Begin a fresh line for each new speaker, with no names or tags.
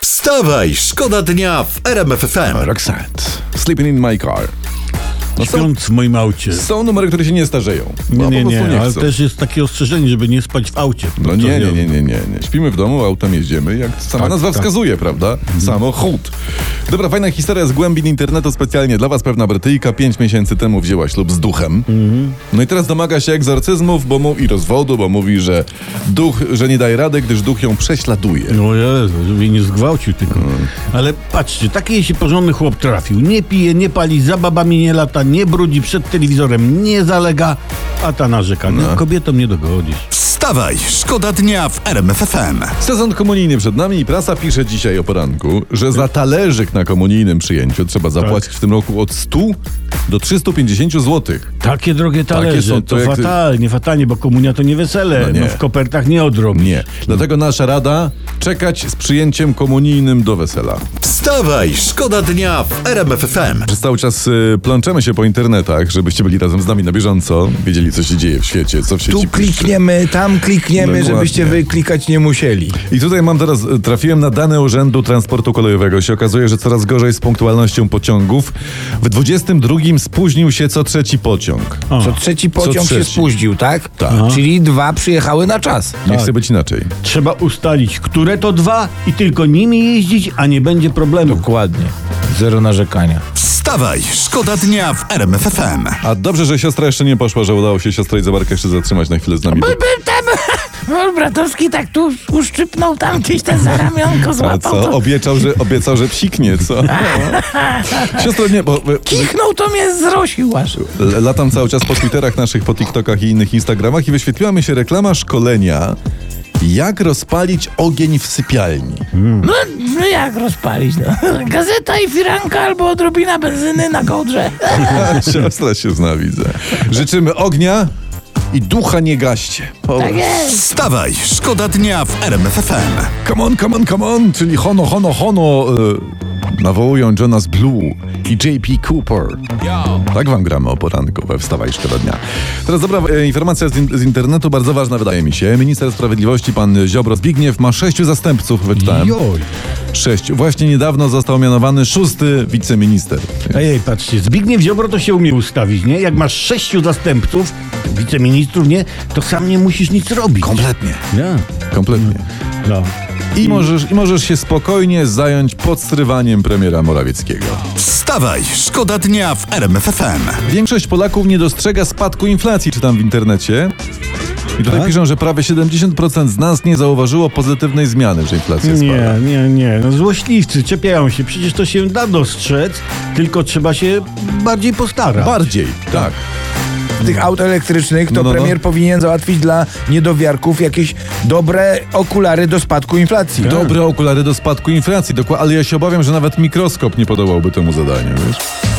Wstawaj, szkoda dnia w RMFFM.
Roxette. Sleeping in my car.
No śpiąc w moim aucie.
Są numery, które się nie starzeją.
Nie,
No,
nie,
po
nie,
prostu nie
ale
chcą.
też jest takie ostrzeżenie, żeby nie spać w aucie.
No nie,
podczas
nie,
jazdy.
nie, nie, nie, nie. Śpimy w domu, autem jeździmy, jak sama
Tak,
nazwa
tak.
wskazuje, prawda? Samochód. Dobra, fajna historia z głębin internetu specjalnie dla was. Pewna Brytyjka 5 miesięcy temu wzięła ślub z duchem.
Mhm.
No i teraz domaga się egzorcyzmów bo mu, i rozwodu, bo mówi, że duch, że nie daje rady, gdyż duch ją prześladuje.
O Jezu, żeby jej nie zgwałcił tylko.
No.
Ale patrzcie, taki jej się porządny chłop trafił. Nie pije, nie pali, za babami nie lata, nie brudzi, przed telewizorem nie zalega, a ta narzeka. No. Kobietom nie dogodzisz.
Wstawaj, szkoda dnia w RMFFM.
Sezon komunijny przed nami i prasa pisze dzisiaj o poranku, że za talerzyk na komunijnym przyjęciu trzeba zapłacić w tym roku od 100 do 350 zł.
Takie drogie talerze,
są, to
to,
jak-
fatalnie, fatalnie, bo komunia to nie wesele.
No
No,
nie.
w kopertach nie odrobisz.
Nie. Dlatego nasza rada czekać z przyjęciem komunijnym do wesela.
Wstawaj, szkoda dnia w RMFFM.
Przez cały czas y, plączemy się po internetach, żebyście byli razem z nami na bieżąco, wiedzieli co się dzieje w świecie, co w sieci
Tu
pisze.
klikniemy, tam klikniemy,
Dokładnie.
żebyście wy klikać nie musieli.
I tutaj mam teraz, y, trafiłem na dane Urzędu Transportu Kolejowego. Się okazuje, że coraz gorzej z punktualnością pociągów. W 22 spóźnił się co trzeci pociąg.
Co trzeci
Co
pociąg się
trzeci.
spóźnił, tak?
Tak.
Czyli dwa przyjechały na czas.
Nie chce być inaczej.
Trzeba ustalić, które to dwa i tylko nimi jeździć, a nie będzie problemu.
Dokładnie. Zero narzekania.
Wstawaj, szkoda dnia w RMFFM.
A dobrze, że siostra jeszcze nie poszła, że udało się siostrę i zabarkę jeszcze zatrzymać na chwilę z nami.
Pan Bratowski tak tu uszczypnął tam gdzieś ten za ramionko
A
złapał.
co?
To.
Obiecał, że, obiecał, że psiknie, co? Siostro, nie, bo y,
Kichnął to mnie zrosił aż. No,
L- Latam cały czas po Twitterach naszych, po TikTokach i innych Instagramach i wyświetliła mi się reklama szkolenia jak rozpalić ogień w sypialni.
No, no jak rozpalić? No. Gazeta i firanka albo odrobina benzyny na kołdrze. Tak
Siostra się zna, widzę. Życzymy ognia i ducha nie gaście.
Tak jest.
Wstawaj, szkoda dnia w RMFFM.
Come on, come on, come on, czyli hono, hono, hono. E, nawołują Jonas Blue i JP Cooper. Tak wam gramy o poranku we Wstawaj Szkoda Dnia. Teraz dobra e, informacja z, in, z internetu, bardzo ważna wydaje mi się. Minister Sprawiedliwości, pan Ziobro Zbigniew, ma sześciu zastępców, wyczytałem.
Joj.
Sześć. Właśnie niedawno został mianowany szósty wiceminister.
Ej, patrzcie, Zbigniew Ziobro to się umie ustawić, nie? Jak masz sześciu zastępców, wiceministrów, nie? To sam nie musisz nic robić.
Kompletnie.
Ja.
Kompletnie.
No.
I możesz, I możesz się spokojnie zająć podstrywaniem premiera Morawieckiego.
Wstawaj, szkoda dnia w RMFFM.
Większość Polaków nie dostrzega spadku inflacji, czytam w internecie. I tutaj piszą, że prawie 70% z nas nie zauważyło pozytywnej zmiany, że inflacja
Nie,
spada.
nie, nie. No, złośliwcy czepiają się. Przecież to się da dostrzec, tylko trzeba się bardziej postarać.
Bardziej, tak.
Tych aut elektrycznych
No,
to
no, no.
premier powinien załatwić dla niedowiarków jakieś dobre okulary do spadku inflacji.
Tak. Dobre okulary do spadku inflacji, dokładnie, ale ja się obawiam, że nawet mikroskop nie podobałby temu zadaniu, wiesz?